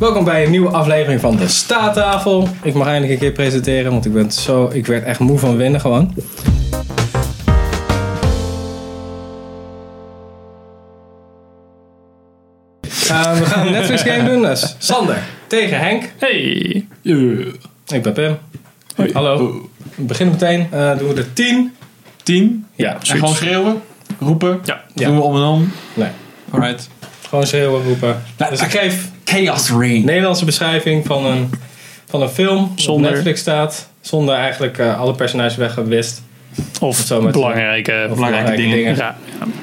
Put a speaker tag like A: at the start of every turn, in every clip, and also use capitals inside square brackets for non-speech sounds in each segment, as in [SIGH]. A: Welkom bij een nieuwe aflevering van de Staattafel. Ik mag eindelijk een keer presenteren, want ik, ben zo, ik werd echt moe van winnen gewoon. Eh, we gaan een Netflix game doen, dus Sander tegen Henk.
B: Hey.
C: Eh,
A: Ik ben Pim. Hallo. We beginnen meteen. Eh, doen we er 10?
C: Tien.
A: Ja,
C: En gewoon schreeuwen. Roepen.
B: Ja.
A: Ja.
C: Doen we om en om.
A: Nee.
C: Alright.
A: Gewoon schreeuwen, roepen. Dus ik geef
C: Chaos Ring.
A: Nederlandse beschrijving van een, van een film die op
B: Zonder-
A: Netflix staat. Zonder eigenlijk eh, alle personages weggewist.
B: Of
A: zo maar te
D: eh,
B: belangrijke.
A: Of
C: Belangrijke dingen.
B: Ja.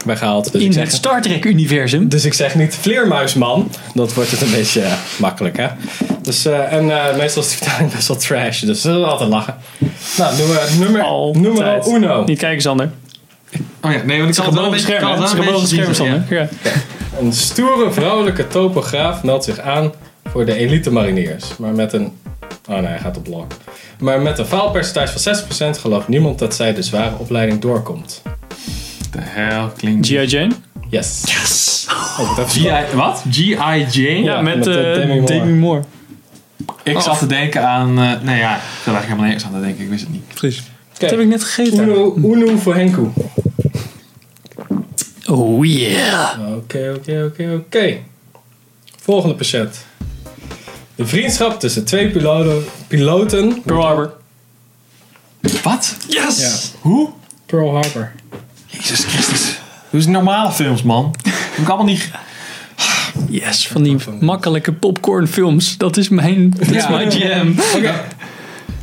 A: weggehaald. Dus ik,
D: in
A: zeg,
D: het Star Trek universum.
A: dus ik zeg niet vleermuisman. Dat wordt het een beetje eh, makkelijk, hè? Dus, eh, en eh, meestal is die vertaling best wel trash. Dus dat is altijd lachen. Nou, doen we nummer,
B: Al.
A: nummer uno.
B: Niet kijken, Sander.
C: Oh ja, nee, want ik kan het wel een beetje... kan het wel een
B: Gebogen scherm,
C: beetje zien,
B: Sander. Ja.
A: Een stoere vrouwelijke topograaf meldt zich aan voor de elite mariniers. Maar met een... Oh nee, hij gaat op log. Maar met een faalpercentage van 60% gelooft niemand dat zij de zware opleiding doorkomt.
C: ja. De hel klinkt...
B: G.I. Jane.
A: Yes. Oh, dat is
C: G.I. Wat? G.I. Jane?
B: Ja, met,
A: met, eh,
B: eh,
A: Demi Moore.
B: Demi Moore.
C: Ik zat te denken aan... eh nee ja, ik zat eigenlijk helemaal nergens aan te denken. Ik wist het niet.
B: Dat heb
A: Oké,
B: ik net gegeten.
A: Uno, uno voor Henku.
D: Oh yeah.
A: Oké, oké, oké, oké. Volgende patiënt. De vriendschap tussen twee piloten... piloten
B: Pearl Harbor.
C: Wat?
B: Yes!
A: ja,
C: Hoe?
A: Pearl Harbor.
C: Jezus Christus. Doe eens normale films, man. Heb ik allemaal niet...
D: Yes, van die makkelijke popcornfilms. Dat is mijn, dat is mijn jam.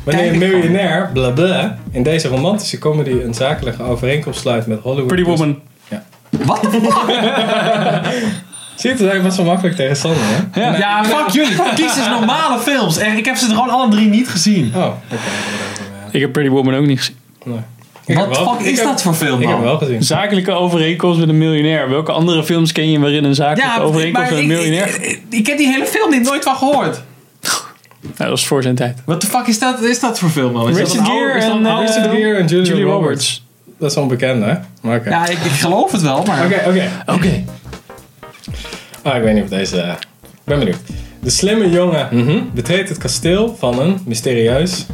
A: Wanneer een miljonair, bla bla, in deze romantische comedy een zakelijke overeenkomst sluit met Hollywood...
B: Pretty Woman.
C: Wat?
A: Ziet het eigenlijk best wel makkelijk tegen Sander, hè?
C: Ja, fuck jullie. [LAUGHS] Kies eens normale films. En ik heb ze er gewoon alle drie niet gezien.
A: Oh, oké.
B: Ik heb Pretty Woman ook niet gezien.
A: Nee. Ik heb
C: Wat
A: wel-
C: fuck
A: ik
C: is
A: heb-
C: dat voor film,
A: Ik heb
C: man?
A: hem wel gezien.
B: Zakelijke overeenkomst met een miljonair. Welke andere films ken je waarin een zakelijke overeenkomst met een miljonair...
C: Ik, ik, ik heb die hele film niet nooit van gehoord.
B: Nou, dat was voor zijn tijd.
C: Wat de fuck is dat, is dat voor film dan? Is dat
B: Richard
C: een oude-
B: Gere
C: is dat
B: en
C: een oude-
A: Richard
B: eh,
A: Gere en Julia
B: Julia
A: Roberts.
B: Roberts.
A: Dat is onbekend, hè? Maar oké.
C: Ja, ik, ik geloof het wel, maar...
A: Oké, oké.
D: Oké.
A: Ah, ik weet niet of deze... eh, Ik ben benieuwd. De slimme jongen mhm, betreedt het kasteel van een mysterieus...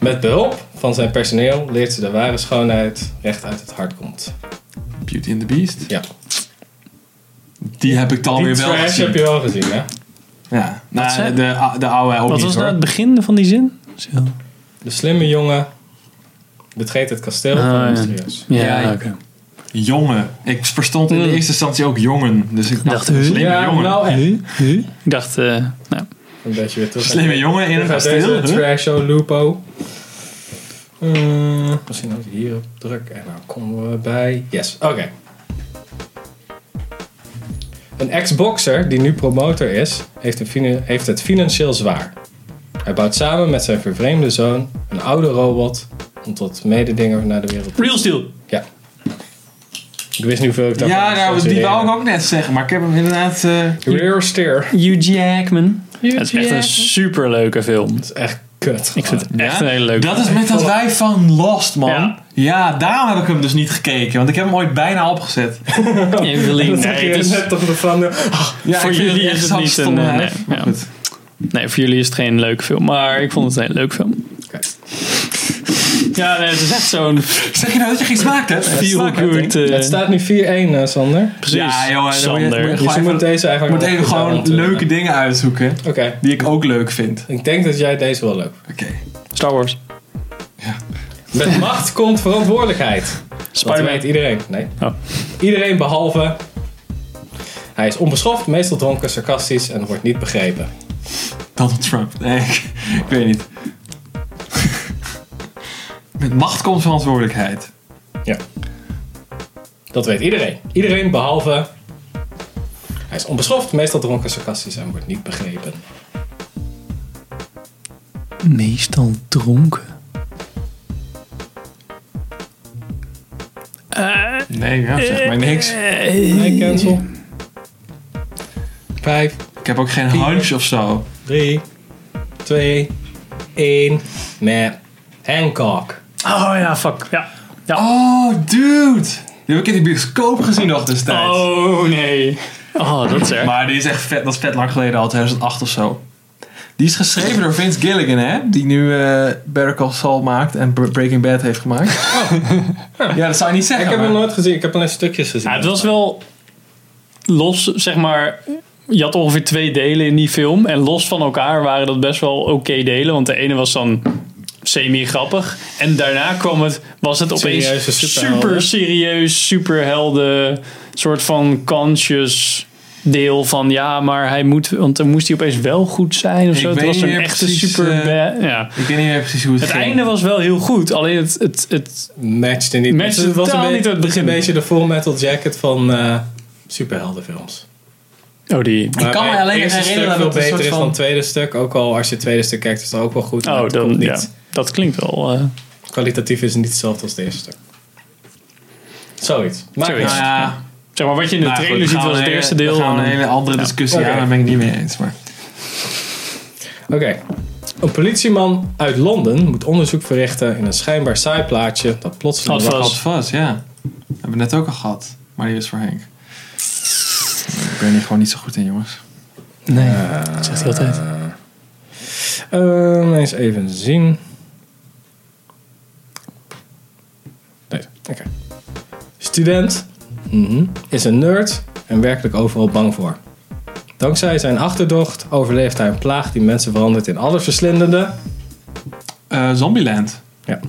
A: Met behulp van zijn personeel leert ze de ware schoonheid recht uit het hart komt.
C: Beauty and the Beast.
A: Ja.
C: Die heb ik dan
A: Die
C: weer wel
A: trash
C: gezien.
A: heb je wel gezien, hè?
C: Ja, nou,
B: zei-
C: de, de oude ook
B: Wat
C: niet,
B: was
C: hoor.
B: nou het begin van die zin? Zo.
A: De slimme jongen betreedt het kasteel van
B: Ah,
A: een
B: ja.
A: mysterieus.
B: Ja,
C: Ja,
B: oké.
C: Jongen. Ik verstond in de
B: Mm.
C: eerste instantie ook jongen. Dus ik dacht,
D: Dacht, huh?
C: slimme jongen.
B: nou.
A: echt.
B: Ik dacht, eh, nou,
A: nou, Een beetje weer terug.
C: Slimme jongen in een
A: Gaat deze
C: kasteel. huh?
A: trash show Lupo. Eh, misschien als ik hierop druk. En dan komen we bij... Yes, oké. Een ex-boxer die nu promotor is, heeft, een fina- heeft het financieel zwaar. Hij bouwt samen met zijn vervreemde zoon een oude robot om tot mededinger naar de wereld...
B: Real Steel.
A: Ja. Ik wist niet hoeveel ik daarvan
C: Ja,
A: moest
C: nou, die
A: censureren.
C: wou ik ook net zeggen, maar ik heb hem inderdaad... eh,
A: Rear Steer.
B: Hugh Jackman. Het is echt
D: Jackman.
B: een superleuke film.
A: Dat is echt kut.
B: Ik vind
A: gewoon.
B: het echt een hele leuke
C: Dat is met dat wij van Lost, man.
B: Ja.
C: Ja. daarom heb ik hem dus niet gekeken. Want ik heb hem ooit
B: [LAUGHS]
C: bijna opgezet.
B: film. Evelien,
A: Dat zeg
B: nee,
A: je
B: het is-
A: net toch van...
C: Ja,
B: Voor
C: ik vind
B: jullie
C: echt
B: is het
C: zo'n
B: niet
C: stomme
B: een, eh,
C: huis,
B: nee,
C: maar
B: ja.
C: goed.
B: nee, voor jullie is het geen leuke film. Maar ik vond het een hele leuke film.
A: Oké.
B: Ja, nee, het is echt zo'n
C: Zeg je nou dat je geen smaak hebt?
B: feel good. eh,
A: Het staat nu 4-1, eh, Sander.
B: precies.
C: Ja, jongen, dan moet je-
B: Sander.
C: moet
A: Dus je
C: Gewoon
A: moet
C: even-
A: deze
C: Ik
A: eigenlijk...
C: moet even
A: wel
C: gewoon
B: eh,
A: goed aan
C: leuke
A: doen.
C: dingen uitzoeken.
A: eh, Oké.
C: Die ik ook leuk vind.
A: Ik denk dat jij deze wel leuk
C: Oké.
B: Star Wars.
A: vindt.
C: [LAUGHS]
A: Met macht komt verantwoordelijkheid. Dat
B: Spider-Man.
A: weet iedereen. Nee.
B: Oh.
A: Iedereen behalve... Hij is onbeschoft, meestal dronken, sarcastisch en wordt niet begrepen.
C: Donald Trump. Nee, [LAUGHS] ik, ik weet niet. Met macht komt verantwoordelijkheid.
A: Ja. Dat weet iedereen. Iedereen behalve... Hij is onbeschoft, meestal dronken, sarcastisch en wordt niet begrepen.
D: Meestal dronken.
C: Nee, ja, zeg maar niks.
D: Eh,
A: Nee, cancel. Vijf,
C: Ik heb ook geen hunch of zo.
A: 3, 2, 1. Met Hancock.
B: Oh ja, fuck. Ja. ja.
C: Oh, dude. Die heb ik in de bioscoop gezien nog destijds.
B: Oh nee.
D: Oh, dat is erg.
C: Maar die is echt vet, dat is vet lang geleden al, 2008 of zo. Die is geschreven door Vince Gilligan, hè? Die nu eh Better Call Saul maakt en Br- Breaking Bad heeft gemaakt. Ja, dat zou je niet zeggen.
A: Ik heb
C: maar-
A: hem nooit gezien. Ik heb alleen stukjes gezien.
D: Ja, het was wel los, zeg maar. Je had ongeveer twee delen in die film. En los van elkaar waren dat best wel oké delen. Want de ene was dan semi-grappig. En daarna kwam het, was het opeens
A: Serieuze superhelden.
D: super serieus, superhelden. soort van conscious deel van ja, maar hij moet, want dan moest hij opeens wel goed zijn of
C: Ik
D: zo. Het
C: weet
D: was
C: niet
D: een
C: meer
D: echte
C: precies,
D: super. ja.
C: Ik weet niet meer precies hoe het,
D: Het
C: ging.
D: einde was wel heel goed. Alleen het, het, het
A: matchte niet.
D: Matchte
A: het was
D: totaal
A: een
D: niet aan het
A: beetje-
D: begin.
A: Een beetje de full metal jacket van eh, superheldenfilms.
D: oh die,
C: Ik kan me
A: Waarbij
C: alleen
A: het eerste
C: herinneren
A: stuk
C: dat
A: veel
C: het een
A: beter
C: soort
A: is
C: van-
A: dan het tweede stuk. Ook al als je het tweede stuk kijkt is het ook wel goed. maar
D: oh
A: het
D: dan
A: komt
D: ja,
A: niet.
D: dat klinkt wel. eh,
A: Kwalitatief is het niet hetzelfde als het eerste stuk. Zoiets. Maar
D: Zoiets.
A: nou
C: Nou
A: ja,
C: ja,
D: Zeg maar, wat je in de
C: nou
D: trailer
C: goed,
D: ziet
C: we gaan
D: was het
C: een
D: eerste
C: hele-
D: deel.
C: We gaan
D: en
C: een
D: dan-
C: hele andere discussie
A: Oké.
C: aan, daar ben ik niet mee eens. Maar.
A: Oké. Een politieman uit Londen moet onderzoek verrichten in een schijnbaar saai plaatje dat plotseling...
D: Had
C: Vast,
D: Vast.
C: vast, ja. Hebben we net ook al gehad. Maar die is voor Henk. Ik ben hier gewoon niet zo goed in, jongens.
D: Nee,
C: Eh,
D: dat zegt hij altijd.
A: Ehm, eens even zien. Deze. Oké. Student mhm, is een nerd en werkelijk overal bang voor. Dankzij zijn achterdocht overleeft hij een plaag die mensen verandert in allesverslindende.
C: Eh, Zombieland.
A: Ja.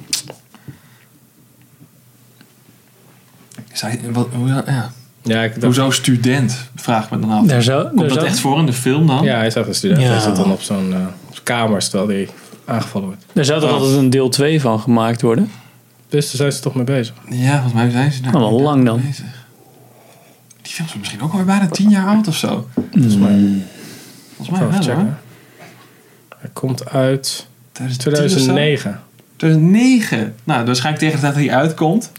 C: Is hij, wat, hoe, ja.
A: Ja, ik, dat,
C: Hoezo student? Vraag ik me dan af.
D: Daar zou,
C: Komt
D: daar
C: dat
D: zou,
C: echt voor in de film dan?
A: ja, hij is echt een student.
D: Ja.
A: Hij zit dan op zo'n eh, op kamers terwijl hij aangevallen wordt.
D: daar zou toch
C: Oh.
D: altijd een deel 2 van gemaakt worden?
A: Dus daar zijn ze toch mee bezig.
C: Ja, volgens mij zijn ze daar
D: Oh, wel
C: inderdaad
D: lang dan.
C: mee bezig. Die film is misschien ook alweer bijna tien jaar oud of zo. Volgens mij
A: Even
C: Mhm. wel hoor.
A: checken. Hij komt uit
C: 2010 of zo?
A: 2009.
C: 2009. Nou, waarschijnlijk tegen de tijd dat hij uitkomt.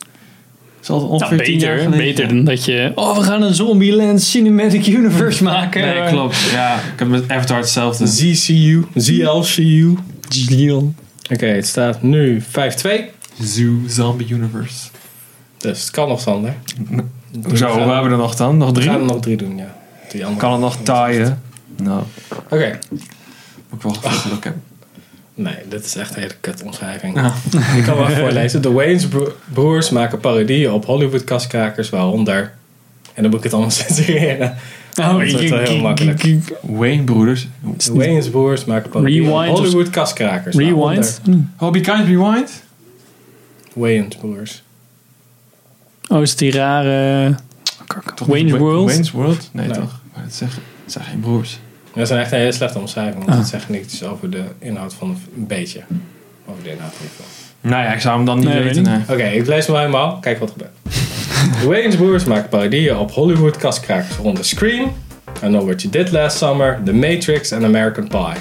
C: Zal het ongeveer
D: Nou,
C: tien jaar
D: beter,
C: geleden
D: beter
C: zijn.
D: dan dat je... Oh, we gaan een Zombieland Cinematic Universe maken. Oh,
C: Nee, klopt. Ja, ik heb met Avatar hetzelfde.
A: ZCU. ZLCU.
D: Giel.
A: Oké, het staat nu 5-2.
C: Zoo Zombie Universe.
A: Dus het kan nog, Sander.
C: Zo,
A: gaan-
C: we hebben er nog dan? Nog
A: We
C: drie?
A: gaan er nog drie doen, ja. Die andere.
C: Kan het nog taaien? Nou,
A: Oké.
C: moet ik wel goed geluk hebben.
A: Nee, dit is echt een hele kut omschrijving.
C: Ja.
A: [LAUGHS] Ik kan wel even voorlezen. De Wayne's bro- broers maken parodieën op Hollywood kastkrakers, waaronder... En dan moet ik het allemaal [LAUGHS] censureren.
D: Oh,
A: dat wordt wel heel makkelijk.
C: Wayne Broeders.
A: De Wayne's broers maken parodieën
D: Rewind
A: op
D: of-
A: Hollywood kastkrakers, waaronder
D: Rewind? Hm.
C: Hobby Kind Rewind?
A: Wayne's broers.
D: Oh, is het die rare...
C: Toch
D: Wayne's
C: niet Wa-
D: World?
C: Wayne's World? Nee,
A: Nee.
C: toch? Maar het, zeggen, het zijn geen broers.
A: Dat zijn echt een hele slechte omschrijving. Want
D: Ah.
A: het zegt niets over de inhoud van... de f- Een beetje. Over de inhoud van de film.
C: Nou ja, ik zou hem dan niet
D: Nee,
C: weten.
D: weet ik
C: nee.
A: Oké, ik lees hem helemaal. Kijk wat er gebeurt. De Wayne's Broers maken parodieën op Hollywood kastkrakers rond Scream, I Know What You Did Last Summer, The Matrix en American Pie.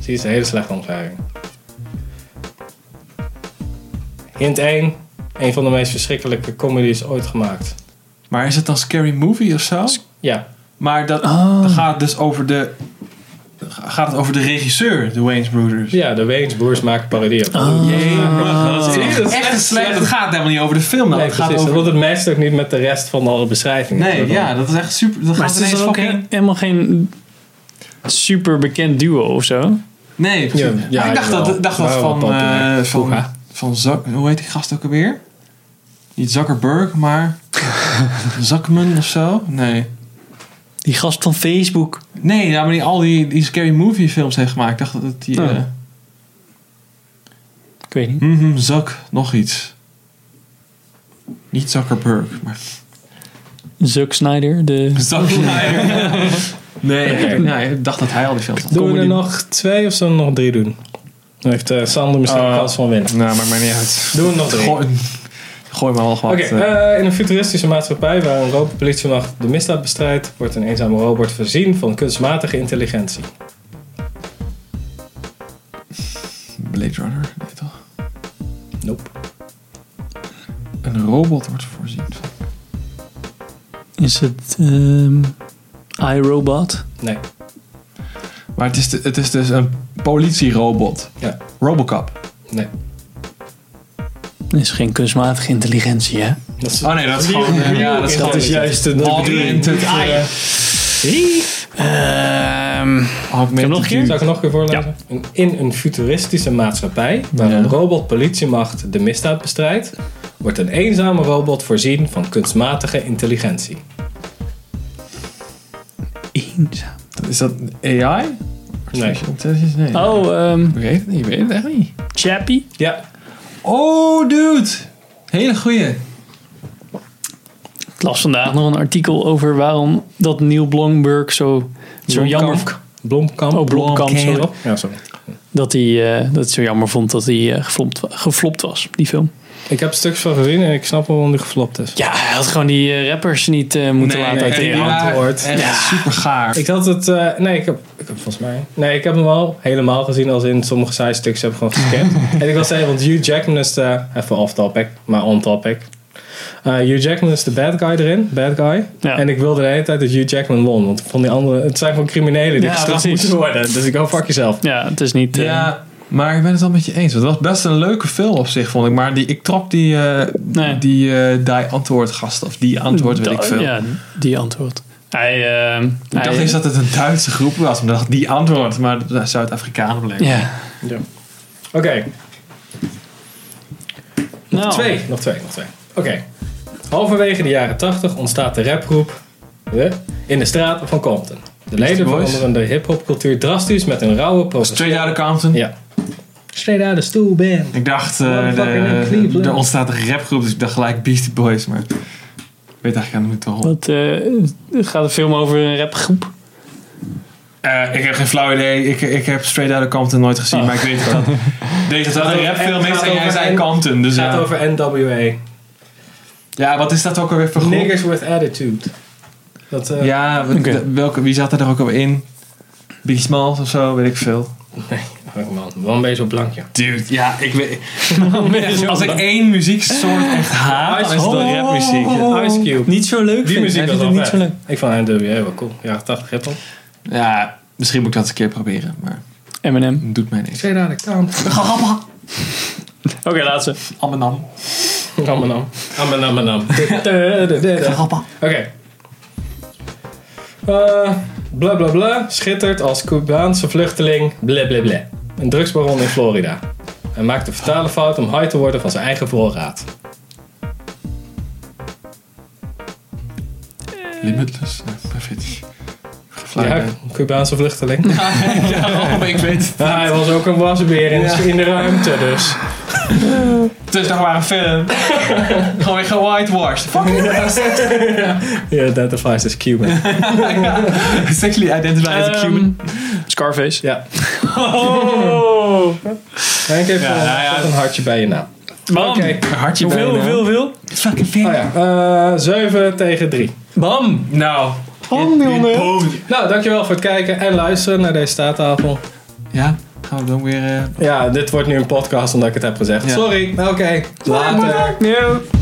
A: Zie je, is een hele slechte omschrijving. Hint 1. Een van de meest verschrikkelijke comedies ooit gemaakt.
C: Maar is het dan Scary Movie of zo?
A: Ja,
C: Maar dat dan gaat het dus over de... dan Gaat het over de regisseur, de Wayne's Brothers?
A: ja de Wayne's Broers maken parodieën op Hollywood.
C: Jee, dat
A: Zie je,
C: is
A: dat is
C: echt
A: echt
C: een slecht. Het gaat helemaal niet over de film. Dan.
A: Nee,
C: het gaat
A: precies.
C: over...
A: Want Nou, het matcht ook niet met de rest van alle beschrijvingen.
C: Nee, ja, dat is echt super. Dat
D: Maar
C: gaat
D: het is
C: ineens
D: ook
C: fucking...
D: helemaal geen super bekend duo of zo.
C: Nee, precies.
A: Ja, ja,
C: Maar ik dacht
A: jawel.
C: dat, dacht dat
A: Wel wat
C: van,
A: populair.
C: eh, van,
A: Vroeger.
C: van Zuck- hoe heet die gast ook alweer? Niet Zuckerberg, [LAUGHS] maar Zuckman of zo? Nee.
D: Die gast van Facebook.
C: Nee, ja, maar die al die, die scary movie films heeft gemaakt. Ik dacht dat het die...
D: Oh.
C: eh
D: Ik weet niet.
C: mhm, Zuck, nog iets. Niet Zuckerberg, maar [LAUGHS]
D: Zuck Snyder, de...
C: Zuck. [LAUGHS] nee, ik- nee, ik dacht dat hij al die films had.
A: Doen we er
D: Comedy.
A: nog twee of zullen we er nog drie doen? Dan heeft eh, Sander misschien
C: Eh,
A: een kans van winnen.
C: Nou, maakt mij niet uit.
A: Doen we nog drie.
C: Gooi, gooi maar wel gewoon.
A: Oké, eh, in een futuristische maatschappij waar een robotpolitiemacht de misdaad bestrijdt, wordt een eenzame robot voorzien van kunstmatige intelligentie.
C: Blade Runner, nee toch?
A: Nope.
C: Een robot wordt voorzien van.
D: Is het ehm iRobot?
A: Nee.
C: Maar het is, de- het is dus een politierobot.
A: Ja.
C: Robocop.
A: Nee.
D: Dat is geen kunstmatige intelligentie, hè?
A: Ah, Dat is,
D: eh,
C: Oh nee, dat is gewoon, eh, ja, dat is gewoon-
A: juist de
C: Augmented, eh,
D: Ehm,
C: Augmented
D: nog een keer?
A: Zou ik het nog een keer voorlezen? Een- In een futuristische maatschappij waar een
C: Ja.
A: robot politiemacht de misdaad bestrijdt, wordt een eenzame robot voorzien van kunstmatige intelligentie.
D: eenzaam.
C: Is dat AI?
A: Nee.
C: Intelligence? Nee.
D: Oh, ehm
C: Ik weet het niet, ik weet het echt niet.
D: Chappie?
A: Ja,
C: Oh, dude. Hele goeie.
D: Ik las vandaag nog een artikel over waarom dat Neil Blomberg zo, zo
A: Blomkamp.
D: jammer
A: Blomkamp.
D: Oh, Blomkamp,
A: Blomkamp.
D: sorry.
A: Ja, sorry.
D: dat hij eh, dat het zo jammer vond dat hij eh, geflopt, wa- geflopt was, die film.
A: Ik heb stuks van gezien en ik snap wel waarom die geflopt is.
D: Ja, hij had gewoon die eh, rappers niet eh, moeten laten
A: nee,
D: acteren.
A: die waren- antwoord.
C: Echt super gaar.
A: Ik had het... eh, nee, ik heb, ik heb volgens mij... Nee, ik heb hem al helemaal gezien als in sommige side stuks heb ik gewoon
D: [LAUGHS]
A: gescand. en ik wil zeggen, want Hugh Jackman is de... Even off topic, maar on topic. Eh, Hugh Jackman is de bad guy erin, bad guy.
D: Ja.
A: En ik wilde de hele tijd dat Hugh Jackman won, want van die andere, het zijn gewoon criminelen die
D: Ja,
A: gestraft
D: precies.
A: moeten worden. Dus ik go fuck jezelf.
D: Ja, het is niet... eh,
C: ja, maar ik ben het wel met je eens. want Het was best een leuke film op zich, vond ik. Maar die, ik trok die, eh,
D: Nee.
C: die, eh die antwoordgast of die antwoord, weet
D: da-
C: ik veel.
D: Ja, die antwoord. Hij, eh,
C: Ik dacht
D: hij-
C: eens dat het een Duitse groep was. Maar ik dacht, die antwoord. Maar dat zijn Zuid-Afrikanen bleven.
D: Ja.
A: Oké,
D: Nou,
C: Oh.
A: twee, nog twee, nog twee. Oké. Halverwege de jaren 80 ontstaat de rapgroep eh, in de straten van Compton. De leden
C: Boys.
A: veranderen de hip-hop cultuur drastisch met een rauwe protest.
C: Straight Outta Compton.
A: Ja. Straight out of stool, Ben.
C: Ik dacht, eh,
A: Motherfucking in
C: de,
A: Cleveland.
C: er ontstaat een rapgroep. Dus ik dacht gelijk Beastie Boys. Maar ik weet eigenlijk niet waarom.
D: Wat, eh, gaat de film over een rapgroep?
C: Eh, ik heb geen flauw idee. Ik, ik heb Straight Outta Compton nooit gezien, maar ik weet dat deze dat een rapfilm is en jij zei Compton. Dus
A: Het gaat
C: ja.
A: over NWA.
C: ja, wat is dat ook alweer voor groep?
A: Niggers with attitude. Dat, eh,
C: Ja, wat-
D: Oké.
C: de- welke, wie zat er daar ook alweer in? Biggie Smalls of zo, weet ik veel.
A: oh man, wel een beetje op blankje.
C: Dude, ja, ik weet... Dus Als
D: Als
C: ik één muzieksoort echt haat, dan is het wel
A: Oh.
C: rapmuziek.
A: Ice Cube.
D: Niet zo leuk
A: Die
D: vind.
A: muziek
D: Hij
A: was
D: vindt
A: wel
D: het niet zo leuk.
A: vet. Ik vond NWA wel cool. Jaren 80 hip-hop.
C: Ja, misschien moet ik dat eens een keer proberen, maar [LAUGHS]
D: Eminem.
C: het doet mij niks.
A: Straight out of Compton. [LAUGHS]
D: Oké, laatste.
C: Ammenam.
A: Amanam. Amanam, amanam.
D: eh, [LAUGHS]
A: Oké. Eh, bla bla bla schittert als Cubaanse vluchteling. Bla bla bla. Een drugsbaron in Florida. Hij maakt de fatale fout om high te worden van zijn eigen voorraad.
C: Limitless. Ja, perfect. Flauw
A: Ja,
C: idee.
A: Cubaanse vluchteling. [LAUGHS]
C: Ja, oh, ik [LAUGHS] weet het.
A: Ah, hij was ook een wasbeer in,
C: Ja.
A: in de ruimte
C: [LAUGHS]
A: dus.
C: Het is nog maar een film. [LAUGHS] Gewoon weer gewhitewashed. Fuck you.
A: He identifies as Cuban.
C: [LAUGHS] Sexually identified as a Cuban.
D: Ehm, Scarface.
A: Ja.
D: Oh.
A: Henk heeft
C: Ja,
A: wel-
C: nou ja.
A: zet een hartje bij je naam.
D: Bam.
A: Oké.
C: Een hartje
D: Hoeveel,
C: bijna.
D: hoeveel, hoeveel?
C: Fucking film.
A: Oh ja, eh, 7 tegen 3.
D: Bam.
C: Nou.
D: Bam, jongen.
A: Nou, dankjewel voor het kijken en luisteren naar deze staattafel.
C: Ja, gaan we dan weer... eh,
A: Ja, dit wordt nu een podcast omdat ik het heb gezegd.
C: Ja.
A: Sorry. Oké. Later.
D: Nieuw.